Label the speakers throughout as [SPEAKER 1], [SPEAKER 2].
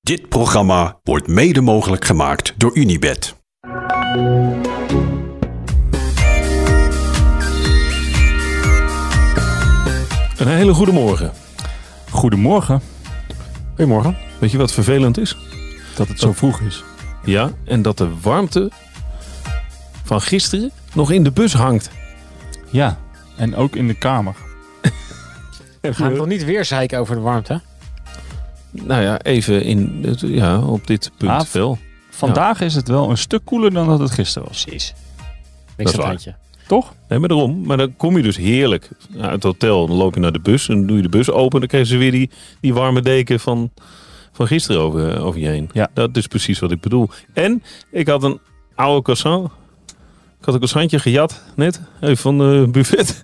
[SPEAKER 1] Dit programma wordt mede mogelijk gemaakt door Unibed.
[SPEAKER 2] Een hele goede morgen.
[SPEAKER 3] Goedemorgen.
[SPEAKER 2] Goedemorgen. Weet je wat vervelend is?
[SPEAKER 3] Dat het zo vroeg is.
[SPEAKER 2] Ja, en dat de warmte van gisteren nog in de bus hangt.
[SPEAKER 3] Ja, en ook in de kamer.
[SPEAKER 4] Gaan we nog niet weer zeiken over de warmte?
[SPEAKER 2] Nou ja, even in, het- ja, op dit punt
[SPEAKER 3] Ah,
[SPEAKER 2] wel.
[SPEAKER 3] Vandaag is het wel een stuk koeler dan dat het gisteren was.
[SPEAKER 4] Precies.
[SPEAKER 2] Dat
[SPEAKER 4] Niks
[SPEAKER 2] is
[SPEAKER 4] aan
[SPEAKER 2] waar.
[SPEAKER 4] het handje.
[SPEAKER 3] Toch?
[SPEAKER 2] Nee, maar daarom. Maar dan kom je dus heerlijk uit het hotel. Dan loop je naar de bus en doe je de bus open. Dan krijg je weer die, die warme deken van, van gisteren over, eh, over je heen.
[SPEAKER 3] Ja.
[SPEAKER 2] Dat is precies wat ik bedoel. En ik had een oude croissant. Ik had een croissantje gejat net. Even van de buffet.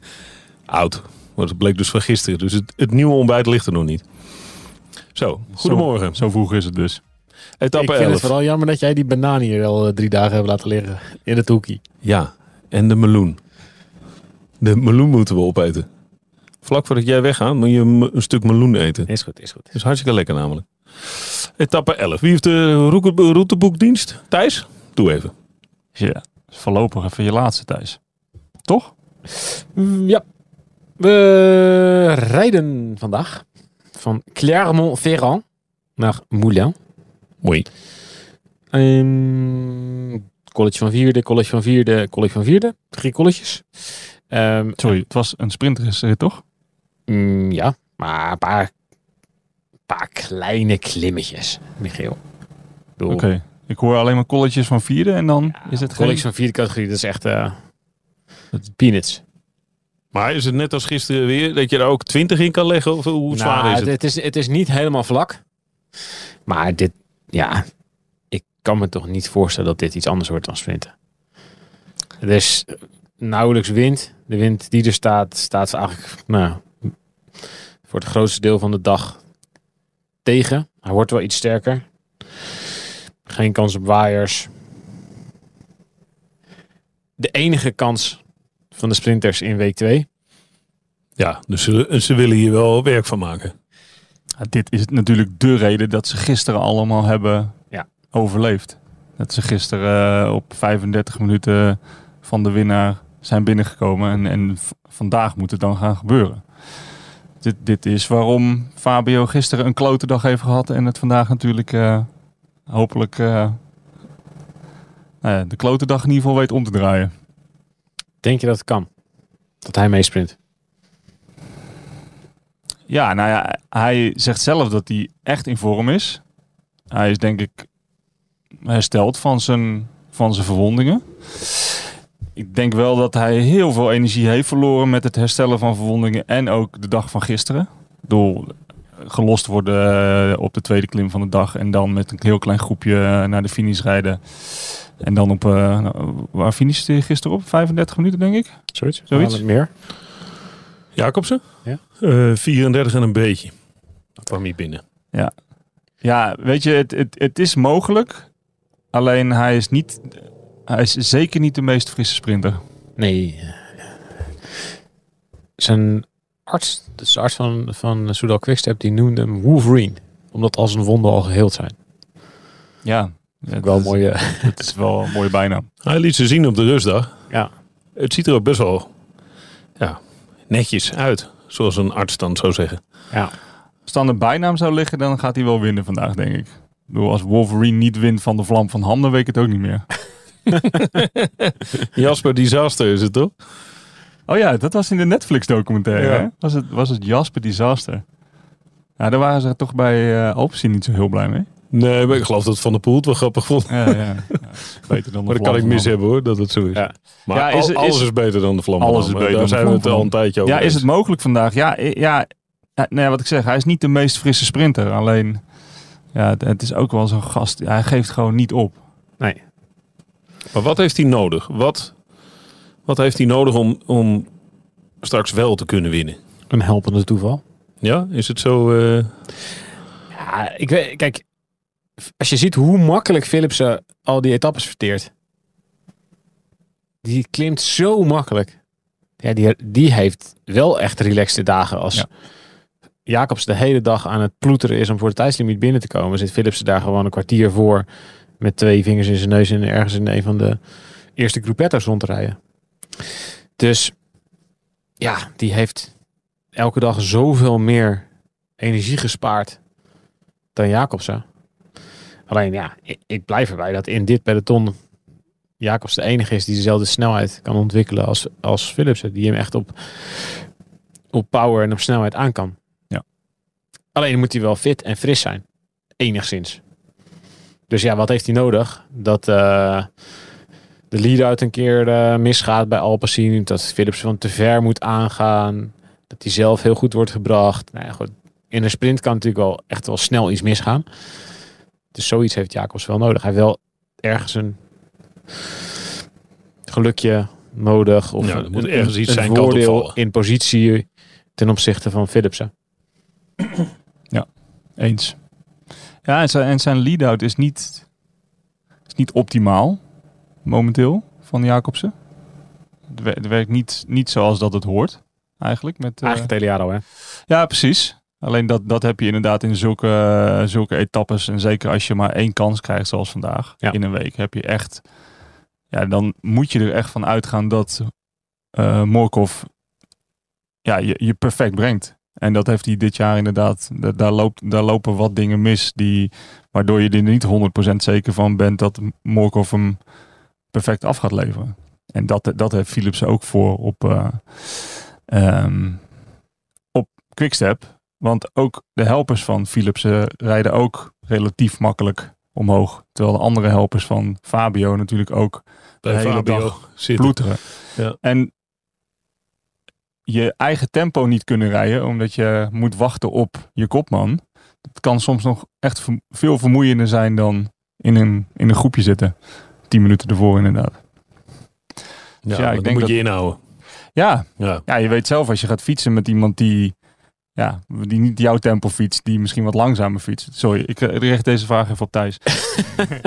[SPEAKER 2] Oud. Maar dat bleek dus van gisteren. Dus het, het nieuwe ontbijt ligt er nog niet. Zo, goedemorgen.
[SPEAKER 3] Zo vroeg is het dus.
[SPEAKER 2] Etappe
[SPEAKER 4] ik vind het
[SPEAKER 2] 11.
[SPEAKER 4] vooral jammer dat jij die banaan hier al eh, drie dagen hebt laten liggen. In het hoekie.
[SPEAKER 2] Ja, en de meloen. De meloen moeten we opeten. Vlak voordat jij weggaat moet je een me- een stuk meloen eten.
[SPEAKER 4] Is goed, is goed.
[SPEAKER 2] Dat is hartstikke lekker namelijk. Etappe 11. Wie heeft de roeke- routeboekdienst? Thijs? Doe even.
[SPEAKER 3] Ja, voorlopig even je laatste thuis. Toch?
[SPEAKER 4] Mm, Ja. We rijden vandaag van Clermont-Ferrand naar Moulin.
[SPEAKER 2] Mooi.
[SPEAKER 4] Ehm, college van vierde, college van vierde, college van vierde. Drie colleges. Ehm,
[SPEAKER 3] Sorry, het was een sprintrace, toch?
[SPEAKER 4] Mm, ja, maar een paar, paar kleine klimmetjes, Michiel.
[SPEAKER 3] Oké. Ik hoor alleen maar colletjes van vierde en dan is het
[SPEAKER 4] college
[SPEAKER 3] geen...
[SPEAKER 4] van vierde categorie, dat is echt eh, peanuts.
[SPEAKER 2] Maar is het net als gisteren weer dat je er ook 20 in kan leggen? Of hoe zwaar
[SPEAKER 4] Nou,
[SPEAKER 2] is het?
[SPEAKER 4] is, het is niet helemaal vlak. Maar dit, ja, ik kan me toch niet voorstellen dat dit iets anders wordt dan sprinten. Er is nauwelijks wind. De wind die er staat, staat eigenlijk nou, voor het grootste deel van de dag tegen. Hij wordt wel iets sterker. Geen kans op waaiers. De enige kans van de sprinters in week 2.
[SPEAKER 2] Ja, dus ze, ze willen hier wel werk van maken.
[SPEAKER 3] Ja, dit is natuurlijk de reden dat ze gisteren allemaal hebben
[SPEAKER 4] Ja.
[SPEAKER 3] overleefd. Dat ze gisteren eh, op 35 minuten van de winnaar zijn binnengekomen. En, en v- vandaag moet het dan gaan gebeuren. Dit, dit is waarom Fabio gisteren een klote dag heeft gehad. En het vandaag natuurlijk eh, hopelijk eh, nou ja, de klote dag in ieder geval weet om te draaien.
[SPEAKER 4] Denk je dat het kan? Dat hij meesprint?
[SPEAKER 3] Ja, nou ja, hij zegt zelf dat hij echt in vorm is. Hij is denk ik hersteld van zijn, van zijn verwondingen. Ik denk wel dat hij heel veel energie heeft verloren met het herstellen van verwondingen en ook de dag van gisteren. Door gelost worden eh, op de tweede klim van de dag en dan met een heel klein groepje eh, naar de finish rijden. En dan op, eh, nou, waar finishte je gisteren op? 35 minuten denk ik?
[SPEAKER 4] Zoiets?
[SPEAKER 3] Zoiets.
[SPEAKER 4] Wel Meer?
[SPEAKER 2] Jacobsen?
[SPEAKER 4] Ja.
[SPEAKER 2] Eh, 34 en een beetje. Dat kwam hier binnen.
[SPEAKER 3] Ja, weet je, het, het, het is mogelijk. Alleen hij is, niet, hij is zeker niet de meest frisse sprinter.
[SPEAKER 4] Nee. Zijn arts, dat is de arts van, van Soudal Quickstep, die noemde hem Wolverine. Omdat al zijn wonden al geheeld zijn.
[SPEAKER 3] Ja,
[SPEAKER 4] Ook wel een
[SPEAKER 3] is-
[SPEAKER 4] mooie...
[SPEAKER 3] Het is wel een mooie bijnaam.
[SPEAKER 2] Hij liet ze zien op de rustdag.
[SPEAKER 4] Ja.
[SPEAKER 2] Het ziet er ook best wel ja, netjes uit. Zoals een arts dan zou zeggen.
[SPEAKER 4] Ja.
[SPEAKER 3] Als het aan de bijnaam zou liggen, dan gaat hij wel winnen vandaag, denk ik. Ik bedoel, als Wolverine niet wint van de vlam van Ham, dan weet ik het ook niet meer.
[SPEAKER 2] Jasper Disaster is het toch?
[SPEAKER 3] Oh ja, dat was in de Netflix-documentaire.
[SPEAKER 2] Ja.
[SPEAKER 3] hè? Was, het, was het Jasper Disaster. Ja, daar waren ze toch bij eh Alpecin niet zo heel blij mee.
[SPEAKER 2] Nee, maar ik geloof dat Van der Poel het wel grappig vond.
[SPEAKER 3] Ja, ja. ja.
[SPEAKER 2] Maar dat
[SPEAKER 3] Beter dan de vlam
[SPEAKER 2] kan ik
[SPEAKER 3] van
[SPEAKER 2] mis
[SPEAKER 3] Ham.
[SPEAKER 2] hebben hoor, dat het zo is.
[SPEAKER 4] Ja.
[SPEAKER 2] Maar
[SPEAKER 3] Ja,
[SPEAKER 2] al-
[SPEAKER 3] is- is-
[SPEAKER 2] alles is beter dan de vlam.
[SPEAKER 3] Alles is
[SPEAKER 2] Daar
[SPEAKER 3] beter dan de
[SPEAKER 2] zijn we het
[SPEAKER 3] vlam
[SPEAKER 2] al
[SPEAKER 3] van
[SPEAKER 2] een tijdje over
[SPEAKER 3] Ja, is
[SPEAKER 2] eens.
[SPEAKER 3] het mogelijk vandaag? Ja, i- ja, ja nou ja, wat ik zeg, hij is niet de meest frisse sprinter. Alleen, ja, het- het is ook wel zo'n gast. ja, Hij geeft gewoon niet op.
[SPEAKER 4] Nee.
[SPEAKER 2] Maar wat heeft hij nodig? Wat, wat heeft hij nodig om, om straks wel te kunnen winnen?
[SPEAKER 4] Een helpende toeval.
[SPEAKER 2] Ja, is het zo? eh,
[SPEAKER 4] Ja, ik weet... Kijk, als je ziet hoe makkelijk Philipsen al die etappes verteert. Die klimt zo makkelijk. Ja, die, die heeft wel echt relaxte dagen als
[SPEAKER 3] Ja.
[SPEAKER 4] Jacobs de hele dag aan het ploeteren is om voor de tijdslimiet binnen te komen, zit Philipsen daar gewoon een kwartier voor met twee vingers in zijn neus en ergens in een van de eerste groepetto's rond te rijden. Dus ja, die heeft elke dag zoveel meer energie gespaard dan Jacobsen. Alleen ja, ik, ik blijf erbij dat in dit peloton Jacobs de enige is die dezelfde snelheid kan ontwikkelen als, als Philipsen. Die hem echt op, op power en op snelheid aan kan.
[SPEAKER 3] Ja.
[SPEAKER 4] Alleen moet hij wel fit en fris zijn. Enigszins. Dus ja, wat heeft hij nodig? Dat eh, de lead-out een keer eh, misgaat bij Alpecin. Dat Philipsen van te ver moet aangaan. Dat hij zelf heel goed wordt gebracht. Nou ja, goed. In een sprint kan natuurlijk wel echt wel snel iets misgaan. Dus zoiets heeft Jacobs wel nodig. Hij heeft wel ergens een gelukje nodig. Of
[SPEAKER 2] Ja, er
[SPEAKER 4] een-
[SPEAKER 2] moet
[SPEAKER 4] een-
[SPEAKER 2] ergens iets
[SPEAKER 4] een
[SPEAKER 2] zijn kant
[SPEAKER 4] voordeel
[SPEAKER 2] opvallen.
[SPEAKER 4] in positie ten opzichte van Philipsen.
[SPEAKER 3] Eens. Ja, en zijn, en zijn lead-out is niet, is niet optimaal momenteel van Jacobsen. Het, wer- het werkt niet, niet zoals dat het hoort, eigenlijk. Met, eh,
[SPEAKER 4] Eigenlijk het hele jaar al, hè?
[SPEAKER 3] ja, precies. Alleen dat, dat heb je inderdaad in zulke, eh, zulke etappes. En zeker als je maar één kans krijgt, zoals vandaag,
[SPEAKER 4] Ja.
[SPEAKER 3] in een week, heb je echt... Ja, dan moet je er echt van uitgaan dat eh Morkov ja, je, je perfect brengt. En dat heeft hij dit jaar inderdaad. da- Daar, loopt, daar lopen wat dingen mis die, waardoor je er niet 100% zeker van bent dat Morkov hem perfect af gaat leveren. En dat, dat heeft Philips ook voor op, eh ehm, op Quickstep. Want ook de helpers van Philips eh, rijden ook relatief makkelijk omhoog. Terwijl de andere helpers van Fabio natuurlijk ook
[SPEAKER 2] Bij
[SPEAKER 3] hele
[SPEAKER 2] Fabio
[SPEAKER 3] dag
[SPEAKER 2] zit
[SPEAKER 3] ploeteren.
[SPEAKER 2] Ja.
[SPEAKER 3] En je eigen tempo niet kunnen rijden, omdat je moet wachten op je kopman. Dat kan soms nog echt ver- veel vermoeiender zijn dan in een, in een groepje zitten. Tien minuten ervoor inderdaad.
[SPEAKER 2] Ja,
[SPEAKER 3] ja,
[SPEAKER 2] maar
[SPEAKER 3] ik
[SPEAKER 2] dat
[SPEAKER 3] denk
[SPEAKER 2] moet
[SPEAKER 3] dat-
[SPEAKER 2] je inhouden.
[SPEAKER 3] Ja,
[SPEAKER 2] Ja.
[SPEAKER 3] ja, je weet zelf als je gaat fietsen met iemand die, ja, die niet jouw tempo fietst, die misschien wat langzamer fietst. Sorry, ik eh, richt deze vraag even op Thijs.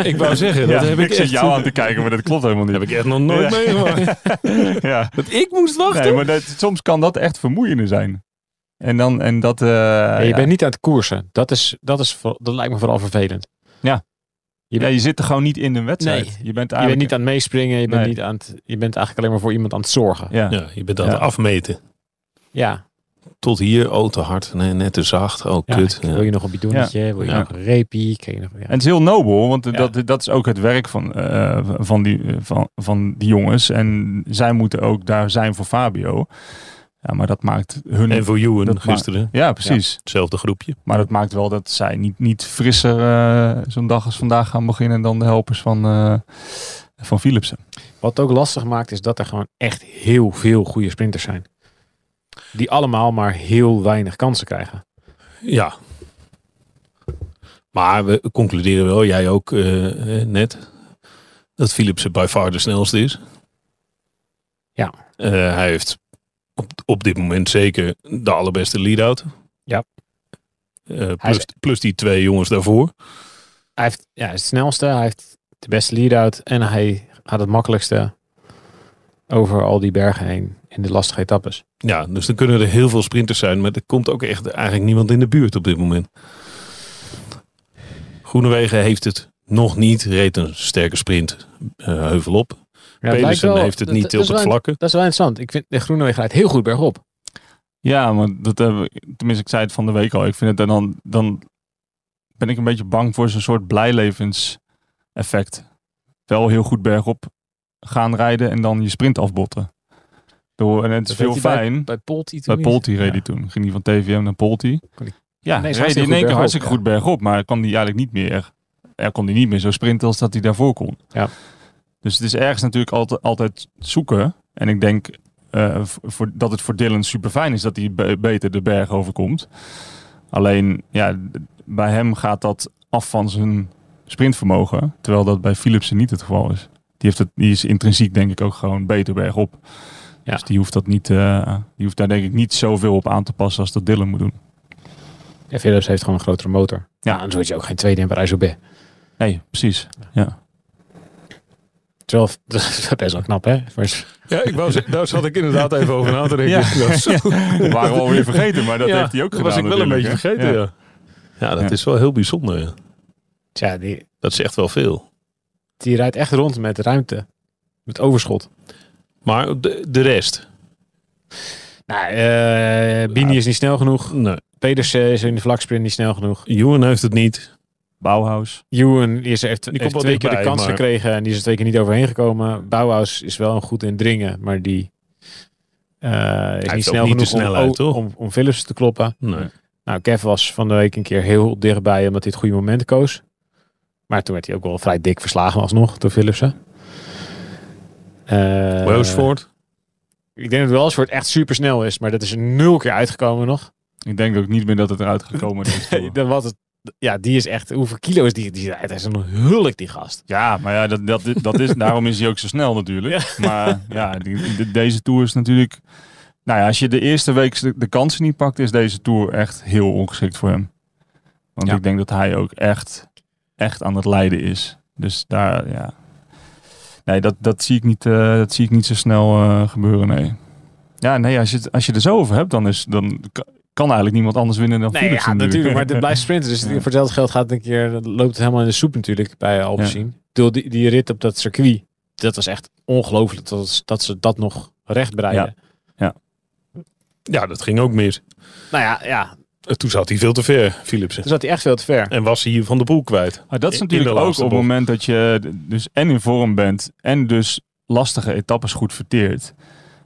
[SPEAKER 2] Ik wou zeggen, dat
[SPEAKER 3] Ja,
[SPEAKER 2] heb ik,
[SPEAKER 3] ik zit
[SPEAKER 2] echt,
[SPEAKER 3] jou aan te kijken, maar dat klopt helemaal niet.
[SPEAKER 2] heb ik echt nog nooit
[SPEAKER 3] Ja.
[SPEAKER 2] meegemaakt.
[SPEAKER 3] ja.
[SPEAKER 2] Dat ik moest wachten?
[SPEAKER 3] Nee, maar dat, soms kan dat echt vermoeiender zijn. En dan, en dat... eh,
[SPEAKER 4] Nee, je
[SPEAKER 3] ja.
[SPEAKER 4] bent niet aan het koersen. Dat, is, dat, is, voor- dat lijkt me vooral vervelend.
[SPEAKER 3] Je, ja, je zit er gewoon niet in de wedstrijd.
[SPEAKER 4] Nee.
[SPEAKER 3] je bent
[SPEAKER 4] Je bent
[SPEAKER 3] eigenlijk...
[SPEAKER 4] niet aan het meespringen. Je bent,
[SPEAKER 3] Nee.
[SPEAKER 4] niet aan het, je bent eigenlijk alleen maar voor iemand aan het zorgen.
[SPEAKER 3] ja.
[SPEAKER 2] Ja, je bent aan het
[SPEAKER 3] Ja.
[SPEAKER 2] afmeten.
[SPEAKER 4] Ja,
[SPEAKER 2] Tot hier, oh te hard, nee, net te zacht, oh
[SPEAKER 4] ja.
[SPEAKER 2] kut. Ja.
[SPEAKER 4] wil je nog een bidonnetje? Wil je
[SPEAKER 2] Ja.
[SPEAKER 4] nog een reepie? Krijg je nog, ja.
[SPEAKER 3] En het is heel nobel, want
[SPEAKER 4] Ja.
[SPEAKER 3] dat, dat is ook het werk van, eh, van, die, eh, van, van die jongens. En zij moeten ook daar zijn voor Fabio. Ja, maar dat maakt hun...
[SPEAKER 2] En voor Juwen
[SPEAKER 3] Dat
[SPEAKER 2] gisteren,
[SPEAKER 3] Ja, precies.
[SPEAKER 2] hetzelfde groepje.
[SPEAKER 3] Maar dat maakt wel dat zij niet, niet frisser eh, zo'n dag als vandaag gaan beginnen dan de helpers van, eh, van Philipsen.
[SPEAKER 4] Wat het ook lastig maakt, is dat er gewoon echt heel veel goede sprinters zijn. Die allemaal maar heel weinig kansen krijgen.
[SPEAKER 2] Ja. Maar we concluderen wel, jij ook eh, eh, net, dat Philipsen by far de snelste is.
[SPEAKER 4] Ja.
[SPEAKER 2] Eh, hij heeft op, op dit moment zeker de allerbeste lead-out.
[SPEAKER 4] Ja.
[SPEAKER 2] Eh,
[SPEAKER 4] Hij
[SPEAKER 2] plus,
[SPEAKER 4] is-
[SPEAKER 2] plus die twee jongens daarvoor.
[SPEAKER 4] Hij, heeft, ja, hij is het snelste, hij heeft de beste lead-out en hij gaat het makkelijkste over al die bergen heen in de lastige etappes.
[SPEAKER 2] Ja, dus dan kunnen er heel veel sprinters zijn, maar er komt ook echt eigenlijk niemand in de buurt op dit moment. Groenewegen heeft het nog niet, reed een sterke sprint eh, heuvel op.
[SPEAKER 4] Ja, het lijkt
[SPEAKER 2] Pedersen
[SPEAKER 4] wel-
[SPEAKER 2] heeft het
[SPEAKER 4] dat-
[SPEAKER 2] niet
[SPEAKER 4] dat
[SPEAKER 2] op
[SPEAKER 4] is
[SPEAKER 2] het
[SPEAKER 4] wel-
[SPEAKER 2] vlakke.
[SPEAKER 4] Dat is wel interessant. Ik vind de Groeneweg rijdt heel goed bergop.
[SPEAKER 3] Ja, maar dat hebben we, tenminste, ik zei het van de week al. Ik vind het en dan, dan ben ik een beetje bang voor zo'n soort blijlevenseffect. Wel heel goed bergop gaan rijden en dan je sprint afbotten. Door, en het is
[SPEAKER 4] Dat
[SPEAKER 3] heel
[SPEAKER 4] deed hij
[SPEAKER 3] fijn.
[SPEAKER 4] Bij Polti toen
[SPEAKER 3] Bij
[SPEAKER 4] niet.
[SPEAKER 3] Polti reed
[SPEAKER 4] Ja.
[SPEAKER 3] hij toen. Ging hij van TVM naar Polti.
[SPEAKER 4] Kon hij-
[SPEAKER 3] Ja,
[SPEAKER 4] Nee,
[SPEAKER 3] reed hij
[SPEAKER 4] is
[SPEAKER 3] in
[SPEAKER 4] hartstikke
[SPEAKER 3] één keer
[SPEAKER 4] goed
[SPEAKER 3] hartstikke goed
[SPEAKER 4] bergop,
[SPEAKER 3] bergop. Maar kwam hij eigenlijk niet meer... Er kon hij niet meer zo sprinten als dat hij daarvoor kon.
[SPEAKER 4] Ja.
[SPEAKER 3] Dus het is ergens natuurlijk altijd, altijd zoeken. En ik denk eh, v- voor, dat het voor Dylan super fijn is dat hij be- beter de berg overkomt. Alleen, ja, d- bij hem gaat dat af van zijn sprintvermogen. Terwijl dat bij Philipsen niet het geval is. Die, heeft het, die is intrinsiek denk ik ook gewoon beter bergop.
[SPEAKER 4] Ja.
[SPEAKER 3] Dus die hoeft, dat niet, eh, die hoeft daar denk ik niet zoveel op aan te passen als dat Dylan moet doen.
[SPEAKER 4] Ja, Philips heeft gewoon een grotere motor. Nou, Ja, anders word je ook geen tweede in Parijs-Roubaix.
[SPEAKER 3] Nee, precies.
[SPEAKER 4] wel, dat is best wel knap, hè? Maar-
[SPEAKER 2] Ja, ik wou, ze- daar zat ik inderdaad even over na te denken.
[SPEAKER 3] Ja.
[SPEAKER 2] Dat is-
[SPEAKER 3] We waren we alweer vergeten, maar dat
[SPEAKER 2] Ja,
[SPEAKER 3] heeft hij ook
[SPEAKER 2] dat
[SPEAKER 3] gedaan.
[SPEAKER 2] was ik wel een beetje
[SPEAKER 3] natuurlijk, hè?
[SPEAKER 2] vergeten, ja. Ja, dat
[SPEAKER 3] Ja.
[SPEAKER 2] is wel heel bijzonder. ja.
[SPEAKER 4] Tja, die,
[SPEAKER 2] Dat zegt wel veel.
[SPEAKER 4] die rijdt echt rond met ruimte. Met overschot.
[SPEAKER 2] Maar de, de rest?
[SPEAKER 4] Nou, eh, Bini is niet snel genoeg.
[SPEAKER 2] Nee.
[SPEAKER 4] Pedersen is in de vlaksprint niet snel genoeg.
[SPEAKER 2] Juwen heeft het niet.
[SPEAKER 3] Bauhaus.
[SPEAKER 4] Ewan die is heeft,
[SPEAKER 2] komt
[SPEAKER 4] heeft
[SPEAKER 2] wel
[SPEAKER 4] twee keer de
[SPEAKER 2] dichtbij,
[SPEAKER 4] kans
[SPEAKER 2] maar-
[SPEAKER 4] gekregen en die is er twee keer niet overheen gekomen. Bauhaus is wel een goed in dringen, maar die eh, is
[SPEAKER 2] ook
[SPEAKER 4] niet snel
[SPEAKER 2] niet de
[SPEAKER 4] genoeg om-
[SPEAKER 2] snelheid,
[SPEAKER 4] om,
[SPEAKER 2] toch?
[SPEAKER 4] om, om Philips te kloppen.
[SPEAKER 2] Nee.
[SPEAKER 4] Nou, Kev was van de week een keer heel dichtbij omdat hij het goede moment koos. Maar toen werd hij ook wel vrij dik verslagen alsnog door Philipsen. Eh,
[SPEAKER 2] Roosvoort?
[SPEAKER 4] Ik denk dat Welsford echt super snel is, maar dat is er nul keer uitgekomen nog.
[SPEAKER 3] Ik denk ook niet meer dat het eruit gekomen is.
[SPEAKER 4] Hey, dan was het, ja, die is echt, hoeveel kilo is die? die hij is een hulk, die gast.
[SPEAKER 3] Ja, maar ja, dat, dat, dat is, daarom is hij ook zo snel natuurlijk. Maar ja, die- de- deze Tour is natuurlijk... Nou ja, als je de eerste week de, de kansen niet pakt, is deze Tour echt heel ongeschikt voor hem. Want
[SPEAKER 4] Ja.
[SPEAKER 3] ik denk dat hij ook echt, echt aan het lijden is. Dus daar, ja... Nee, dat, dat, zie, ik niet, eh, dat zie ik niet zo snel eh, gebeuren, nee. Ja, nee, als je, het- als je er zo over hebt, dan, is, dan ka- kan eigenlijk niemand anders winnen dan
[SPEAKER 4] Nee,
[SPEAKER 3] Philips
[SPEAKER 4] ja, natuurlijk, maar het blijft sprinten. Dus
[SPEAKER 3] Ja.
[SPEAKER 4] voor hetzelfde geld gaat het een keer, dan loopt het helemaal in de soep natuurlijk bij Alpecin. Ik bedoel, Die, die rit op dat circuit, dat was echt ongelooflijk dat, dat ze dat nog recht breiden.
[SPEAKER 2] Ja, dat ging ook mis.
[SPEAKER 4] Nou ja, ja,
[SPEAKER 2] En Toen zat hij veel te ver, Philipsen.
[SPEAKER 4] toen zat hij echt veel te ver.
[SPEAKER 2] En was hij van de boel kwijt.
[SPEAKER 3] Maar dat is
[SPEAKER 2] In- in
[SPEAKER 3] natuurlijk
[SPEAKER 2] de
[SPEAKER 3] ook op
[SPEAKER 2] laatste
[SPEAKER 3] het
[SPEAKER 2] bocht.
[SPEAKER 3] moment dat je d- dus en in vorm bent en dus lastige etappes goed verteert,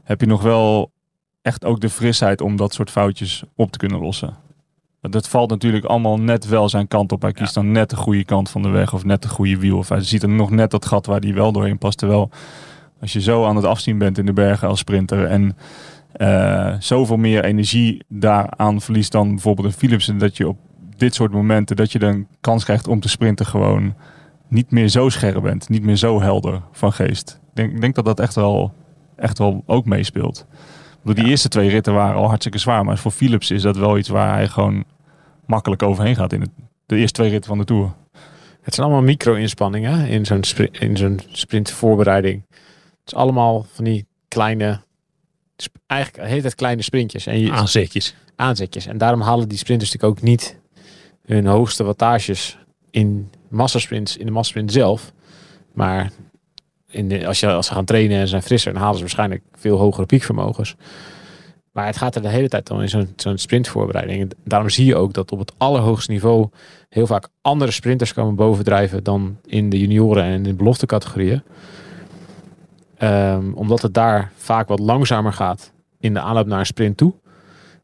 [SPEAKER 3] heb je nog wel echt ook de frisheid om dat soort foutjes op te kunnen lossen. Want Dat valt natuurlijk allemaal net wel zijn kant op. Hij kiest dan net de goede kant van de weg of net de goede wiel. Of hij ziet er nog net dat gat waar hij wel doorheen past. Terwijl als je zo aan het afzien bent in de bergen als sprinter en eh, zoveel meer energie daaraan verliest dan bijvoorbeeld een Philipsen, dat je op dit soort momenten dat je dan kans krijgt om te sprinten gewoon niet meer zo scherp bent, niet meer zo helder van geest. Ik denk, ik denk dat dat echt wel, echt wel ook meespeelt. Want die eerste twee ritten waren al hartstikke zwaar, maar voor Philips is dat wel iets waar hij gewoon makkelijk overheen gaat in het, de eerste twee ritten van de Tour.
[SPEAKER 4] Het zijn allemaal micro-inspanningen in zo'n, spri- in zo'n sprintvoorbereiding. Het is allemaal van die kleine, sp- eigenlijk heet het kleine sprintjes. En
[SPEAKER 2] Ah.
[SPEAKER 4] je,
[SPEAKER 2] Aanzetjes.
[SPEAKER 4] aanzetjes. En daarom halen die sprinters natuurlijk ook niet hun hoogste wattages in massasprints, in de massasprint zelf. Maar in de, als, je, als ze gaan trainen en zijn frisser, dan halen ze waarschijnlijk veel hogere piekvermogens. Maar het gaat er de hele tijd om in zo'n zo'n sprintvoorbereiding. En daarom zie je ook dat op het allerhoogste niveau heel vaak andere sprinters komen bovendrijven dan in de junioren en in de beloftecategorieën. Ehm, omdat het daar vaak wat langzamer gaat in de aanloop naar een sprint toe.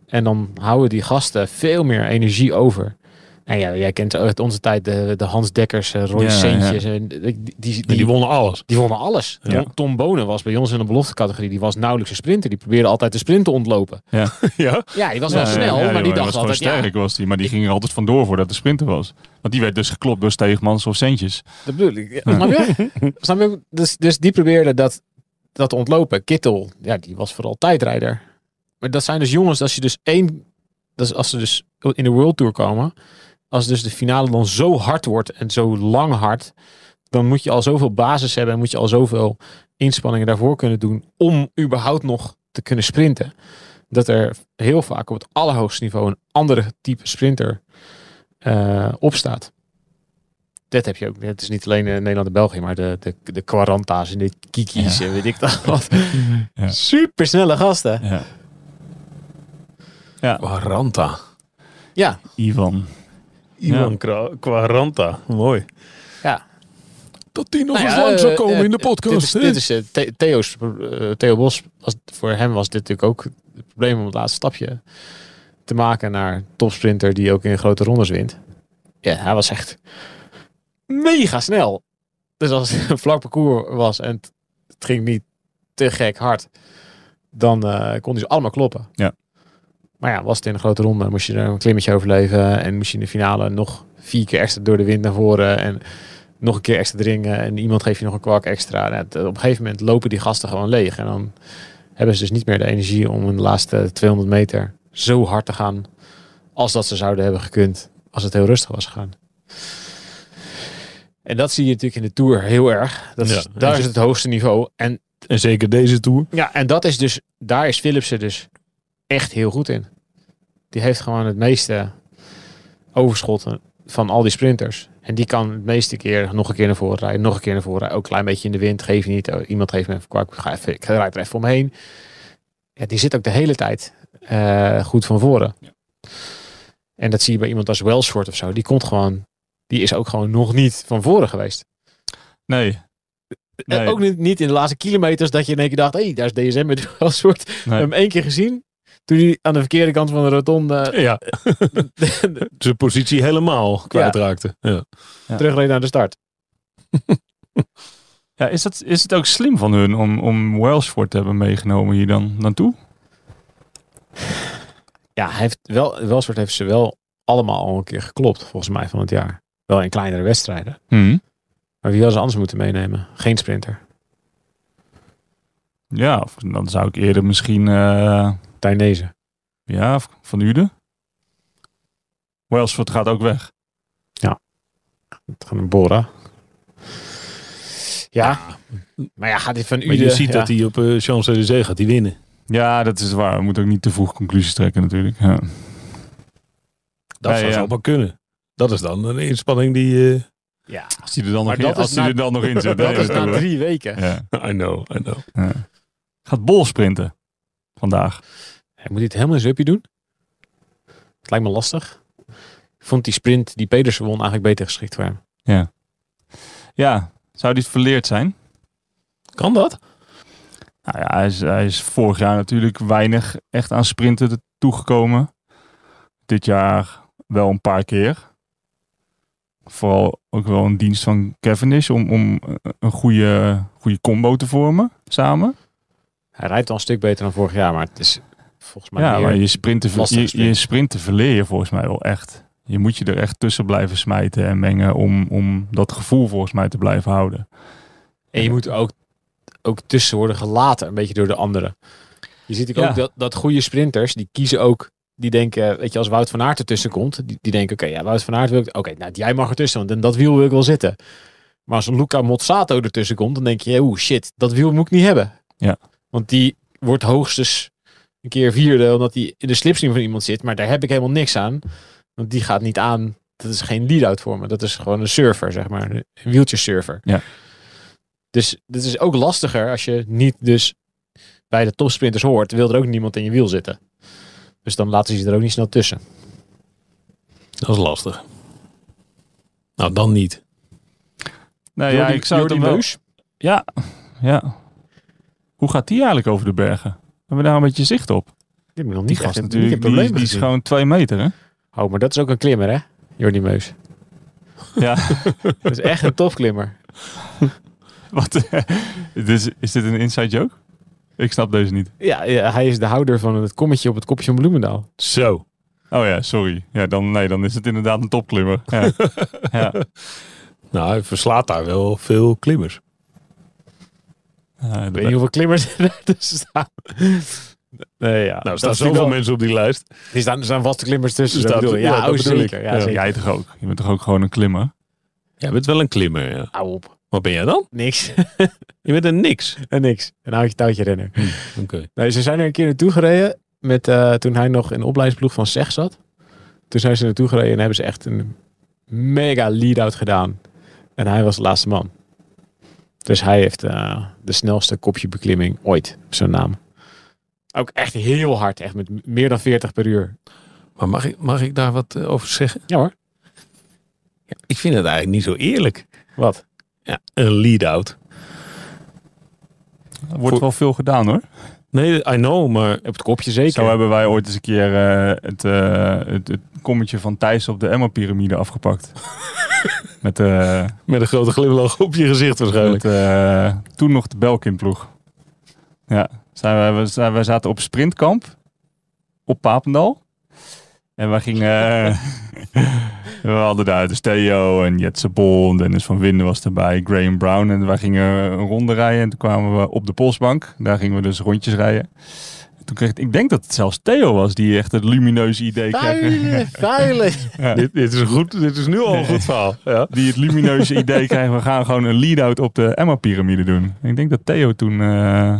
[SPEAKER 4] En dan houden die gasten veel meer energie over. En ja, jij kent uit onze tijd de, de Hans Dekkers, eh, Roy
[SPEAKER 3] Ja, ja.
[SPEAKER 4] Seentjes. en die- die, die,
[SPEAKER 2] En die wonnen alles.
[SPEAKER 4] die wonnen alles.
[SPEAKER 3] Ja.
[SPEAKER 4] Tom, Tom Bonen was bij ons in de beloftecategorie. Die was nauwelijks een sprinter. Die probeerde altijd de sprint te ontlopen.
[SPEAKER 2] Ja?
[SPEAKER 4] Ja, die was
[SPEAKER 3] Ja, ja,
[SPEAKER 4] wel snel,
[SPEAKER 3] ja,
[SPEAKER 4] maar
[SPEAKER 3] joh, hij
[SPEAKER 4] die dacht
[SPEAKER 3] was gewoon
[SPEAKER 4] altijd... Ja,
[SPEAKER 3] sterk was die, maar die ging er altijd vandoor voordat de sprinter was. Want die werd dus geklopt door Steegmans of Centjes.
[SPEAKER 4] dat bedoel ik. Ja, Snap je? Snap je? Dus, dus die probeerde dat, dat te ontlopen. Kittel, ja, die was vooral tijdrijder. Maar dat zijn dus jongens, als je dus één... Dat is als ze dus in de World Tour komen... Als dus de finale dan zo hard wordt en zo lang hard... Dan moet je al zoveel basis hebben en moet je al zoveel inspanningen daarvoor kunnen doen... om überhaupt nog te kunnen sprinten. dat er heel vaak op het allerhoogste niveau een andere type sprinter eh, opstaat. Dat heb je ook. Het is niet alleen eh, Nederland en België, maar de, de, de Quaranta's en de Kiki's en weet ik dat wat.
[SPEAKER 3] Ja.
[SPEAKER 4] Super snelle gasten.
[SPEAKER 3] Ja.
[SPEAKER 2] Quaranta.
[SPEAKER 4] Ja,
[SPEAKER 3] Ivan.
[SPEAKER 2] Ivan Kra- Quaranta. Mooi.
[SPEAKER 4] ja.
[SPEAKER 2] Dat die nog
[SPEAKER 4] Nou
[SPEAKER 2] eens
[SPEAKER 4] ja,
[SPEAKER 2] lang zou
[SPEAKER 4] eh,
[SPEAKER 2] komen
[SPEAKER 4] eh,
[SPEAKER 2] in de
[SPEAKER 4] Dit is,
[SPEAKER 2] podcast.
[SPEAKER 4] dit is eh, The- Theo's, eh, Theo Bos, was, voor hem was dit natuurlijk ook het probleem om het laatste stapje te maken naar een topsprinter die ook in grote rondes wint. Ja, hij was echt mega snel. Dus als het een vlak parcours was en het het ging niet te gek hard, dan eh, kon hij ze allemaal kloppen.
[SPEAKER 3] Ja.
[SPEAKER 4] Maar ja, was het in een grote ronde, moest je er een klimmetje overleven en moest je in de finale nog vier keer extra door de wind naar voren en nog een keer extra dringen en iemand geeft je nog een kwak extra. Nou, het- op een gegeven moment lopen die gasten gewoon leeg en dan hebben ze dus niet meer de energie om in de laatste 200 meter zo hard te gaan als dat ze zouden hebben gekund als het heel rustig was gegaan. En dat zie je natuurlijk in de Tour heel erg. Dat is,
[SPEAKER 2] Ja, en
[SPEAKER 4] daar
[SPEAKER 2] ze-
[SPEAKER 4] is het hoogste niveau. En,
[SPEAKER 2] En zeker deze Tour.
[SPEAKER 4] ja, en dat is dus, daar is Philipsen dus echt heel goed in. Die heeft gewoon het meeste overschotten van al die sprinters. En die kan het meeste keer nog een keer naar voren rijden. Nog een keer naar voren rijden. Ook een klein beetje in de wind. Geef je niet. Oh, iemand geeft me even kwak. Ik, ga even, ik rijd er even omheen. Ja, die zit ook de hele tijd eh, goed van voren. En dat zie je bij iemand als Welsford of zo. Die komt gewoon... Die is ook gewoon nog niet van voren geweest.
[SPEAKER 3] Nee.
[SPEAKER 4] En
[SPEAKER 3] Nee.
[SPEAKER 4] Eh, Ook niet, niet in de laatste kilometers dat je in één keer dacht, hé, hey, daar is DSM met wel soort. We hebben
[SPEAKER 3] nee.
[SPEAKER 4] hem één keer gezien. Toen hij aan de verkeerde kant van de rotonde eh,
[SPEAKER 2] Ja. Zijn positie helemaal kwijtraakte. Ja.
[SPEAKER 3] Ja.
[SPEAKER 4] terugreed naar de start.
[SPEAKER 3] Ja, is, dat, is het ook slim van hun om, om Wellsford te hebben meegenomen hier dan naartoe?
[SPEAKER 4] Ja, hij heeft wel, wel soort heeft ze wel allemaal al een keer geklopt, volgens mij, van het jaar. Wel in kleinere wedstrijden. Maar wie hadden ze anders moeten meenemen? Geen sprinter.
[SPEAKER 3] Ja, of dan zou ik eerder misschien eh,
[SPEAKER 4] Tainezen.
[SPEAKER 3] ja, of Van Uden. Wellsford gaat ook weg.
[SPEAKER 4] Gewoon een Bora. Ja. Maar ja, gaat hij van
[SPEAKER 2] Maar
[SPEAKER 4] Uden...
[SPEAKER 2] je ziet
[SPEAKER 4] ja.
[SPEAKER 2] dat hij op eh, Champs-Élysées gaat die winnen.
[SPEAKER 3] Ja, dat is waar. We moeten ook niet te vroeg conclusies trekken natuurlijk. Ja.
[SPEAKER 2] Dat
[SPEAKER 3] Ja,
[SPEAKER 2] zou
[SPEAKER 3] ja.
[SPEAKER 2] ze allemaal kunnen. Dat is dan een inspanning die... eh,
[SPEAKER 4] Ja,
[SPEAKER 3] Als hij er dan
[SPEAKER 4] Maar
[SPEAKER 3] nog in,
[SPEAKER 4] dat is
[SPEAKER 3] als hij
[SPEAKER 4] na-
[SPEAKER 3] er dan nog in zit.
[SPEAKER 4] dat
[SPEAKER 3] hè,
[SPEAKER 4] is na
[SPEAKER 3] natuurlijk.
[SPEAKER 4] drie weken.
[SPEAKER 3] Ja.
[SPEAKER 2] I know, I know.
[SPEAKER 3] Ja. Gaat Bol sprinten vandaag.
[SPEAKER 4] Hij moet dit helemaal in zijn uppie doen. Het lijkt me lastig. Ik vond die sprint die Pedersen won eigenlijk beter geschikt voor hem.
[SPEAKER 3] Ja, zou die verleerd zijn?
[SPEAKER 2] Kan dat?
[SPEAKER 3] Nou ja, hij is, hij is vorig jaar natuurlijk weinig echt aan sprinten te- toegekomen. Dit jaar wel een paar keer. Vooral ook wel een dienst van Cavendish om, om eh, een goede, goede combo te vormen samen.
[SPEAKER 4] Hij rijdt al een stuk beter dan vorig jaar, maar het is volgens mij
[SPEAKER 3] ja,
[SPEAKER 4] meer-
[SPEAKER 3] maar eh, je sprint, te, ver-
[SPEAKER 4] lastige
[SPEAKER 3] je,
[SPEAKER 4] sprint.
[SPEAKER 3] je sprint te verleer je volgens mij wel echt. Je moet je er echt tussen blijven smijten en mengen om, om dat gevoel volgens mij te blijven houden.
[SPEAKER 4] En je moet ook, ook tussen worden gelaten, een beetje door de anderen. Je ziet ook,
[SPEAKER 3] Ja.
[SPEAKER 4] ook dat, dat goede sprinters, die kiezen ook, die denken, weet je, als Wout van Aert ertussen komt, die, die denken, oké, ja, Wout van Aert wil ik, oké, nou, jij mag ertussen, want in dat wiel wil ik wel zitten. Maar als een Luca Mozzato ertussen komt, dan denk je, oeh, shit, dat wiel moet ik niet hebben.
[SPEAKER 3] Ja.
[SPEAKER 4] Want die wordt hoogstens een keer vierde, omdat die in de slipstream van iemand zit, maar daar heb ik helemaal niks aan. Want die gaat niet aan, dat is geen lead-out voor me, dat is gewoon een server, zeg maar, een wieltjeserver. Dus dit is ook lastiger als je niet dus bij de topsprinters hoort. Wil er ook niemand in je wiel zitten. Dus dan laten ze je er ook niet snel tussen.
[SPEAKER 2] Dat is lastig. Nou, dan niet.
[SPEAKER 3] Nou ja, ik zou het
[SPEAKER 4] Jordi
[SPEAKER 3] hem wel...
[SPEAKER 4] Meus,
[SPEAKER 3] Ja, ja. Hoe gaat die eigenlijk over de bergen? Hebben we daar een beetje zicht op?
[SPEAKER 4] Die heb ik nog
[SPEAKER 3] Die
[SPEAKER 4] niet
[SPEAKER 3] gast
[SPEAKER 4] echt
[SPEAKER 3] natuurlijk,
[SPEAKER 4] natuurlijk.
[SPEAKER 3] die,
[SPEAKER 4] probleem
[SPEAKER 3] is- die is
[SPEAKER 4] gezien.
[SPEAKER 3] gewoon twee meter, hè?
[SPEAKER 4] Oh, maar dat is ook een klimmer, hè? Jordi Meus.
[SPEAKER 3] Ja,
[SPEAKER 4] Dat is echt een topklimmer.
[SPEAKER 3] wat, dus, is dit een inside joke? Ik snap deze niet.
[SPEAKER 4] Ja, ja, hij is de houder van het kommetje op het kopje van Bloemendaal.
[SPEAKER 2] Zo.
[SPEAKER 3] Oh ja, sorry. Ja, dan, nee, dan is het inderdaad een topklimmer. Ja. ja.
[SPEAKER 2] Nou, hij verslaat daar wel veel klimmers.
[SPEAKER 3] Ja,
[SPEAKER 4] Ik weet niet hoeveel klimmers er tussen staan. Nee, ja.
[SPEAKER 2] Nou, er
[SPEAKER 4] Dat
[SPEAKER 2] staan
[SPEAKER 4] is natuurlijk
[SPEAKER 2] zoveel
[SPEAKER 4] wel-
[SPEAKER 2] mensen op die lijst.
[SPEAKER 4] Er staan, er staan vaste klimmers tussen.
[SPEAKER 2] Er
[SPEAKER 4] zo
[SPEAKER 2] staat-
[SPEAKER 4] bedoel je.
[SPEAKER 2] ja,
[SPEAKER 4] Ja,
[SPEAKER 2] dat
[SPEAKER 4] oh,
[SPEAKER 2] bedoel ik.
[SPEAKER 4] zeker.
[SPEAKER 2] Ja,
[SPEAKER 4] Ja, zeker.
[SPEAKER 3] jij toch ook? Je bent toch ook gewoon een klimmer?
[SPEAKER 2] Jij bent wel een klimmer, ja.
[SPEAKER 4] Hou op.
[SPEAKER 2] Wat ben jij dan?
[SPEAKER 4] Niks.
[SPEAKER 2] Je bent een niks.
[SPEAKER 4] en niks. Een houtje touwtje renner.
[SPEAKER 2] Oké.
[SPEAKER 4] Nee, ze zijn er een keer naartoe gereden. Met, eh, toen hij nog in de opleidingsploeg van SEG zat. Toen zijn ze naartoe gereden en hebben ze echt een mega lead-out gedaan. En hij was de laatste man. Dus hij heeft eh, de snelste kopjebeklimming ooit, zo'n naam. Ook echt heel hard, echt met m- meer dan 40 per uur.
[SPEAKER 2] Maar mag ik, mag ik daar wat eh, over zeggen?
[SPEAKER 4] Ja hoor.
[SPEAKER 2] Ik vind het eigenlijk niet zo eerlijk.
[SPEAKER 4] Wat?
[SPEAKER 2] Ja, een lead-out.
[SPEAKER 3] Er wordt wel veel gedaan, hoor.
[SPEAKER 2] Nee, I know, maar
[SPEAKER 4] Op het kopje zeker.
[SPEAKER 3] Zo hebben wij ooit eens een keer eh, het, eh, het, het kommetje van Thijs op de Emma-pyramide afgepakt. Met... eh,
[SPEAKER 2] met een grote glimlach op je gezicht waarschijnlijk.
[SPEAKER 3] Met, eh, toen nog de Belkin-ploeg. Ja, zijn wij, we, zijn, wij zaten op sprintkamp op Papendal. En wij gingen... eh, we hadden daar de Steo en Jetse Bol en Dennis van Winden was erbij, Graham Brown. En wij gingen een ronde rijden en toen kwamen we op de polsbank. Daar gingen we dus rondjes rijden. En toen kreeg ik denk dat het zelfs Theo was die echt het lumineuze idee kreeg.
[SPEAKER 4] Vuile, vuile.
[SPEAKER 2] Dit, dit, is een goed, dit is nu al een goed verhaal. Ja.
[SPEAKER 3] Die het lumineuze idee kreeg, we gaan gewoon een lead-out op de Emma-pyramide doen. Ik denk dat Theo toen, eh,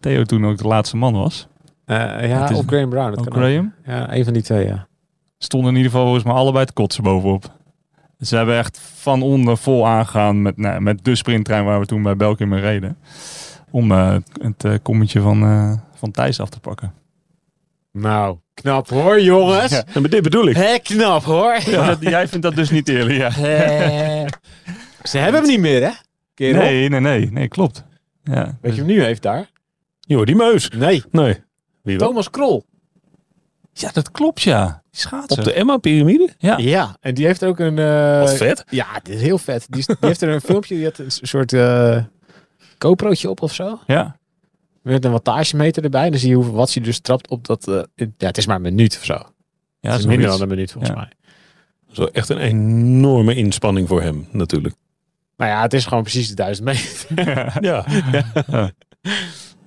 [SPEAKER 3] Theo toen ook de laatste man was.
[SPEAKER 4] Eh, ja,
[SPEAKER 3] Het is-
[SPEAKER 4] of Graham Brown. Dat
[SPEAKER 3] Ook
[SPEAKER 4] kan ook.
[SPEAKER 3] Graham.
[SPEAKER 4] Ja, een van die twee, ja.
[SPEAKER 3] stonden in ieder geval volgens mij allebei te kotsen bovenop. Ze hebben echt van onder vol aangegaan met, nou, met de sprinttrein waar we toen bij Belkin mee reden. Om eh, het eh, kommetje van, eh, van Thijs af te pakken.
[SPEAKER 4] Nou, knap hoor, jongens.
[SPEAKER 3] Ja.
[SPEAKER 2] En met dit bedoel ik.
[SPEAKER 4] Hé, knap hoor.
[SPEAKER 3] Ja, dat- jij vindt dat dus niet eerlijk, ja.
[SPEAKER 4] Eh, Ze hebben hem niet meer, hè? Kerel.
[SPEAKER 3] Nee, nee, nee, nee, klopt. Ja,
[SPEAKER 4] Weet
[SPEAKER 3] dus-
[SPEAKER 4] je hem nu heeft daar?
[SPEAKER 2] Joh, die meus.
[SPEAKER 4] Nee,
[SPEAKER 2] Nee. Wie wel?
[SPEAKER 4] Thomas Krol.
[SPEAKER 3] ja dat klopt, ja. Die
[SPEAKER 2] Op
[SPEAKER 3] schaatsen.
[SPEAKER 2] de Emma-pyramide?
[SPEAKER 3] Ja.
[SPEAKER 4] Ja, en die heeft ook een... eh,
[SPEAKER 2] Wat vet.
[SPEAKER 4] Ja, dit is heel vet. Die, is- die heeft er een filmpje, die had een soort eh GoPro'tje op of zo.
[SPEAKER 3] Ja,
[SPEAKER 4] Met een wattagemeter erbij. En dan zie je hoeveel wat je dus trapt op dat... eh, ja, het is maar een minuut of zo.
[SPEAKER 3] ja
[SPEAKER 4] het
[SPEAKER 3] zoiets.
[SPEAKER 4] is minder dan een minuut volgens
[SPEAKER 3] Ja.
[SPEAKER 4] mij.
[SPEAKER 2] Dat is wel echt een enorme inspanning voor hem, natuurlijk.
[SPEAKER 4] Maar Nou ja, het is gewoon precies de duizend meter.
[SPEAKER 2] Ja.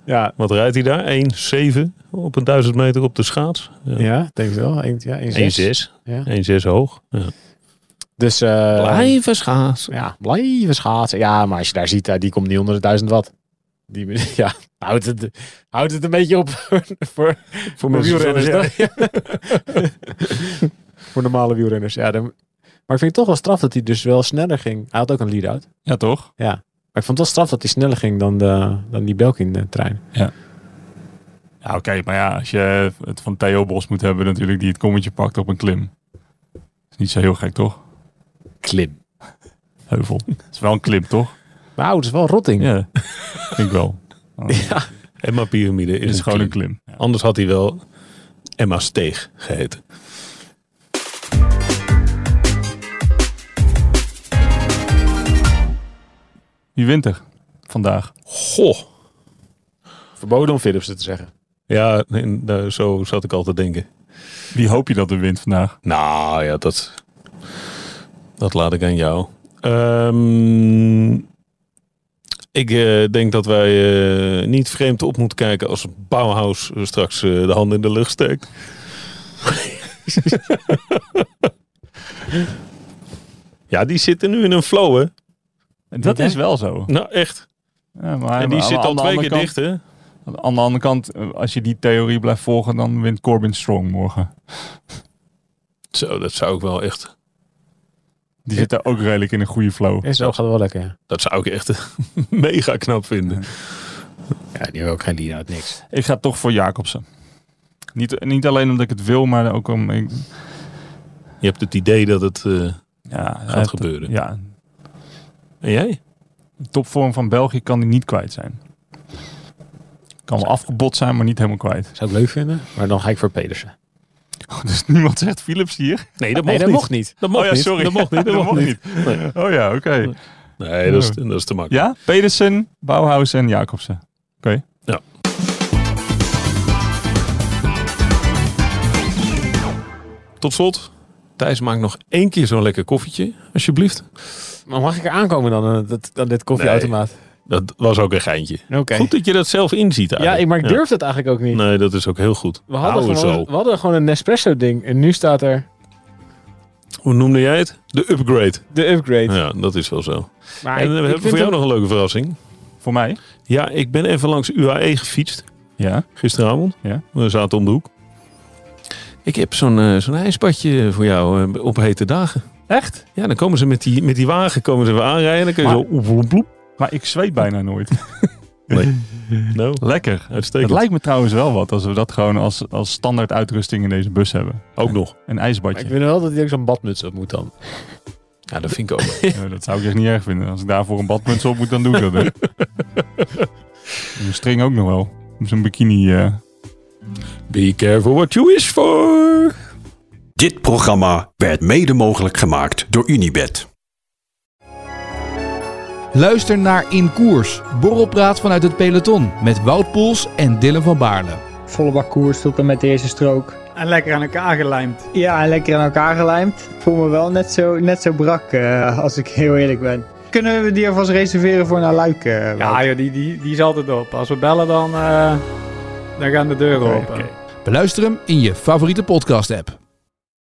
[SPEAKER 4] ja,
[SPEAKER 2] Wat rijdt hij daar? 1,7 op een 1000 meter op de schaats.
[SPEAKER 4] ja, denk ik wel. Eén, ja, één zes.
[SPEAKER 2] 1,6.
[SPEAKER 4] Ja.
[SPEAKER 2] 1,6 hoog. Ja.
[SPEAKER 4] Dus eh,
[SPEAKER 2] Blijven schaatsen.
[SPEAKER 4] ja, blijven schaatsen. Ja, maar als je daar ziet, eh, die komt niet onder de 1000 watt. Die, ja, houdt het, houdt het een beetje op voor, voor, voor
[SPEAKER 2] mensen
[SPEAKER 4] wielrenners.
[SPEAKER 2] van-
[SPEAKER 4] toch? voor normale wielrenners. Ja, dan, maar ik vind het toch wel straf dat hij dus wel sneller ging. Hij had ook een lead-out.
[SPEAKER 3] Ja, toch?
[SPEAKER 4] Maar ik vond het wel straf dat hij sneller ging dan, de, dan die Belkin-trein.
[SPEAKER 3] Ja, oké, maar ja, als je het van Theo Bos moet hebben natuurlijk, die het kommetje pakt op een klim. Is niet zo heel gek, toch?
[SPEAKER 4] Klim.
[SPEAKER 3] Heuvel. is wel een klim, toch?
[SPEAKER 4] Maar oud, is wel rotting.
[SPEAKER 3] Ja, ik wel.
[SPEAKER 4] Ja.
[SPEAKER 2] Emma-pyramide
[SPEAKER 3] Dit
[SPEAKER 2] is,
[SPEAKER 3] is gewoon een
[SPEAKER 2] klim.
[SPEAKER 3] klim. Ja.
[SPEAKER 2] Anders had hij wel Emma Steeg geheten.
[SPEAKER 3] Wie wint er vandaag?
[SPEAKER 2] Goh.
[SPEAKER 4] Verboden om Philipsen te zeggen.
[SPEAKER 2] Ja, nee, nou, zo zat ik al te denken.
[SPEAKER 3] Wie hoop je dat er wint vandaag?
[SPEAKER 2] Nou ja, dat, dat laat ik aan jou. Ehm, ik eh, denk dat wij eh, niet vreemd op moeten kijken als Bauhaus eh, straks eh, de handen in de lucht steekt. ja, die zitten nu in een flow, hè?
[SPEAKER 3] Dat is wel zo.
[SPEAKER 2] Nou, echt.
[SPEAKER 3] Ja, maar,
[SPEAKER 2] En die
[SPEAKER 3] maar
[SPEAKER 2] zit
[SPEAKER 3] aan
[SPEAKER 2] al
[SPEAKER 3] de
[SPEAKER 2] twee
[SPEAKER 3] andere
[SPEAKER 2] keer
[SPEAKER 3] kant-
[SPEAKER 2] dicht, hè?
[SPEAKER 3] Aan de andere kant, eh, als je die theorie blijft volgen, dan wint Corbin Strong morgen.
[SPEAKER 2] Zo, dat zou ik wel echt...
[SPEAKER 3] Die zit daar ook redelijk in een goede flow.
[SPEAKER 4] Is wel, gaat wel lekker. ja.
[SPEAKER 2] Dat zou ik echt mega knap vinden.
[SPEAKER 4] Ja, die heeft ook geen lead-out, niks.
[SPEAKER 3] Ik ga toch voor Jacobsen. Niet, niet alleen omdat ik het wil, maar ook om... Ik,
[SPEAKER 2] Je hebt het idee dat het... eh,
[SPEAKER 3] ja,
[SPEAKER 2] Gaat
[SPEAKER 3] het-
[SPEAKER 2] gebeuren.
[SPEAKER 3] Ja,
[SPEAKER 2] En jij?
[SPEAKER 3] de topvorm van België kan die niet kwijt zijn. Kan wel afgebot zijn, maar niet helemaal kwijt.
[SPEAKER 4] Zou ik leuk vinden, maar dan ga ik voor Pedersen.
[SPEAKER 3] Dus niemand zegt Philips hier.
[SPEAKER 2] Nee, dat
[SPEAKER 4] nee,
[SPEAKER 2] mocht
[SPEAKER 4] dat
[SPEAKER 2] niet.
[SPEAKER 4] mocht niet.
[SPEAKER 2] Dat mocht
[SPEAKER 3] oh ja,
[SPEAKER 2] niet.
[SPEAKER 3] sorry.
[SPEAKER 2] Dat mocht niet. Dat mocht niet. Nee.
[SPEAKER 3] Oh ja, oké.
[SPEAKER 2] Nee, dat is, dat is te makkelijk.
[SPEAKER 3] Ja, Pedersen, Bauhaus en Jacobsen. Oké.
[SPEAKER 2] Ja. Tot slot, Thijs maakt nog één keer zo'n lekker koffietje, alsjeblieft.
[SPEAKER 4] Maar mag ik er aankomen dan aan, dat, aan dit koffieautomaat?
[SPEAKER 2] Dat was ook een geintje.
[SPEAKER 4] Oké.
[SPEAKER 2] Goed dat je dat zelf inziet
[SPEAKER 4] Ja,
[SPEAKER 2] eigenlijk.
[SPEAKER 4] ik, maar ik durf dat eigenlijk ook niet.
[SPEAKER 2] Nee, dat is ook heel goed.
[SPEAKER 4] We, hadden
[SPEAKER 2] Hou
[SPEAKER 4] gewoon,
[SPEAKER 2] zo.
[SPEAKER 4] we hadden gewoon een Nespresso-ding en nu staat er
[SPEAKER 2] Hoe noemde jij het? De upgrade.
[SPEAKER 4] de upgrade.
[SPEAKER 2] Ja, dat is wel zo.
[SPEAKER 4] Maar
[SPEAKER 2] en
[SPEAKER 4] ik-
[SPEAKER 2] we
[SPEAKER 4] ik
[SPEAKER 2] hebben
[SPEAKER 4] vind
[SPEAKER 2] voor jou
[SPEAKER 4] het-
[SPEAKER 2] nog een leuke verrassing.
[SPEAKER 3] Voor mij?
[SPEAKER 2] Ja, ik ben even langs UAE gefietst.
[SPEAKER 3] Ja.
[SPEAKER 2] gisteravond.
[SPEAKER 3] Ja.
[SPEAKER 2] We zaten om de hoek. Ik heb zo'n eh, zo'n ijsbadje voor jou eh, op hete dagen.
[SPEAKER 3] Echt?
[SPEAKER 2] Ja, dan komen ze met die, met die wagen komen ze even aanrijden. Dan kun je
[SPEAKER 3] Maar-
[SPEAKER 2] zo... oef, oef, bloep.
[SPEAKER 3] Maar ik zweet bijna nooit.
[SPEAKER 2] Nou,
[SPEAKER 3] Lekker. Het
[SPEAKER 2] uitstekend.
[SPEAKER 3] lijkt me trouwens wel wat als we dat gewoon als, als standaard uitrusting in deze bus hebben.
[SPEAKER 2] Ook nog. Dus
[SPEAKER 3] Een
[SPEAKER 4] maar ik
[SPEAKER 3] ijsbadje.
[SPEAKER 4] vind wel dat hij ook zo'n badmuts op moet dan.
[SPEAKER 2] Ja, dat vind ik ook.
[SPEAKER 3] Ja, Eh, dat zou ik echt niet erg vinden. Als ik daarvoor een badmuts op moet, dan doe ik dat. hè. En Een string ook nog wel. Zo'n bikini. eh.
[SPEAKER 2] Be careful what you wish for.
[SPEAKER 1] Dit programma werd mede mogelijk gemaakt door Unibed.
[SPEAKER 5] Luister naar In Koers, borrelpraat vanuit het peloton met Wout Poels en Dylan van Baarle.
[SPEAKER 6] Volle bak koers tot en met de eerste strook.
[SPEAKER 7] En lekker aan elkaar gelijmd.
[SPEAKER 6] Ja, en lekker aan elkaar gelijmd. Ik voel me wel net zo, net zo brak, eh, als ik heel eerlijk ben. Kunnen we die alvast reserveren voor naar Luik? eh, Wout?
[SPEAKER 7] Ja, joh, die, die, die is altijd op. Als we bellen, dan, eh, Dan gaan de deuren open.
[SPEAKER 5] Beluister hem in je favoriete podcast-app.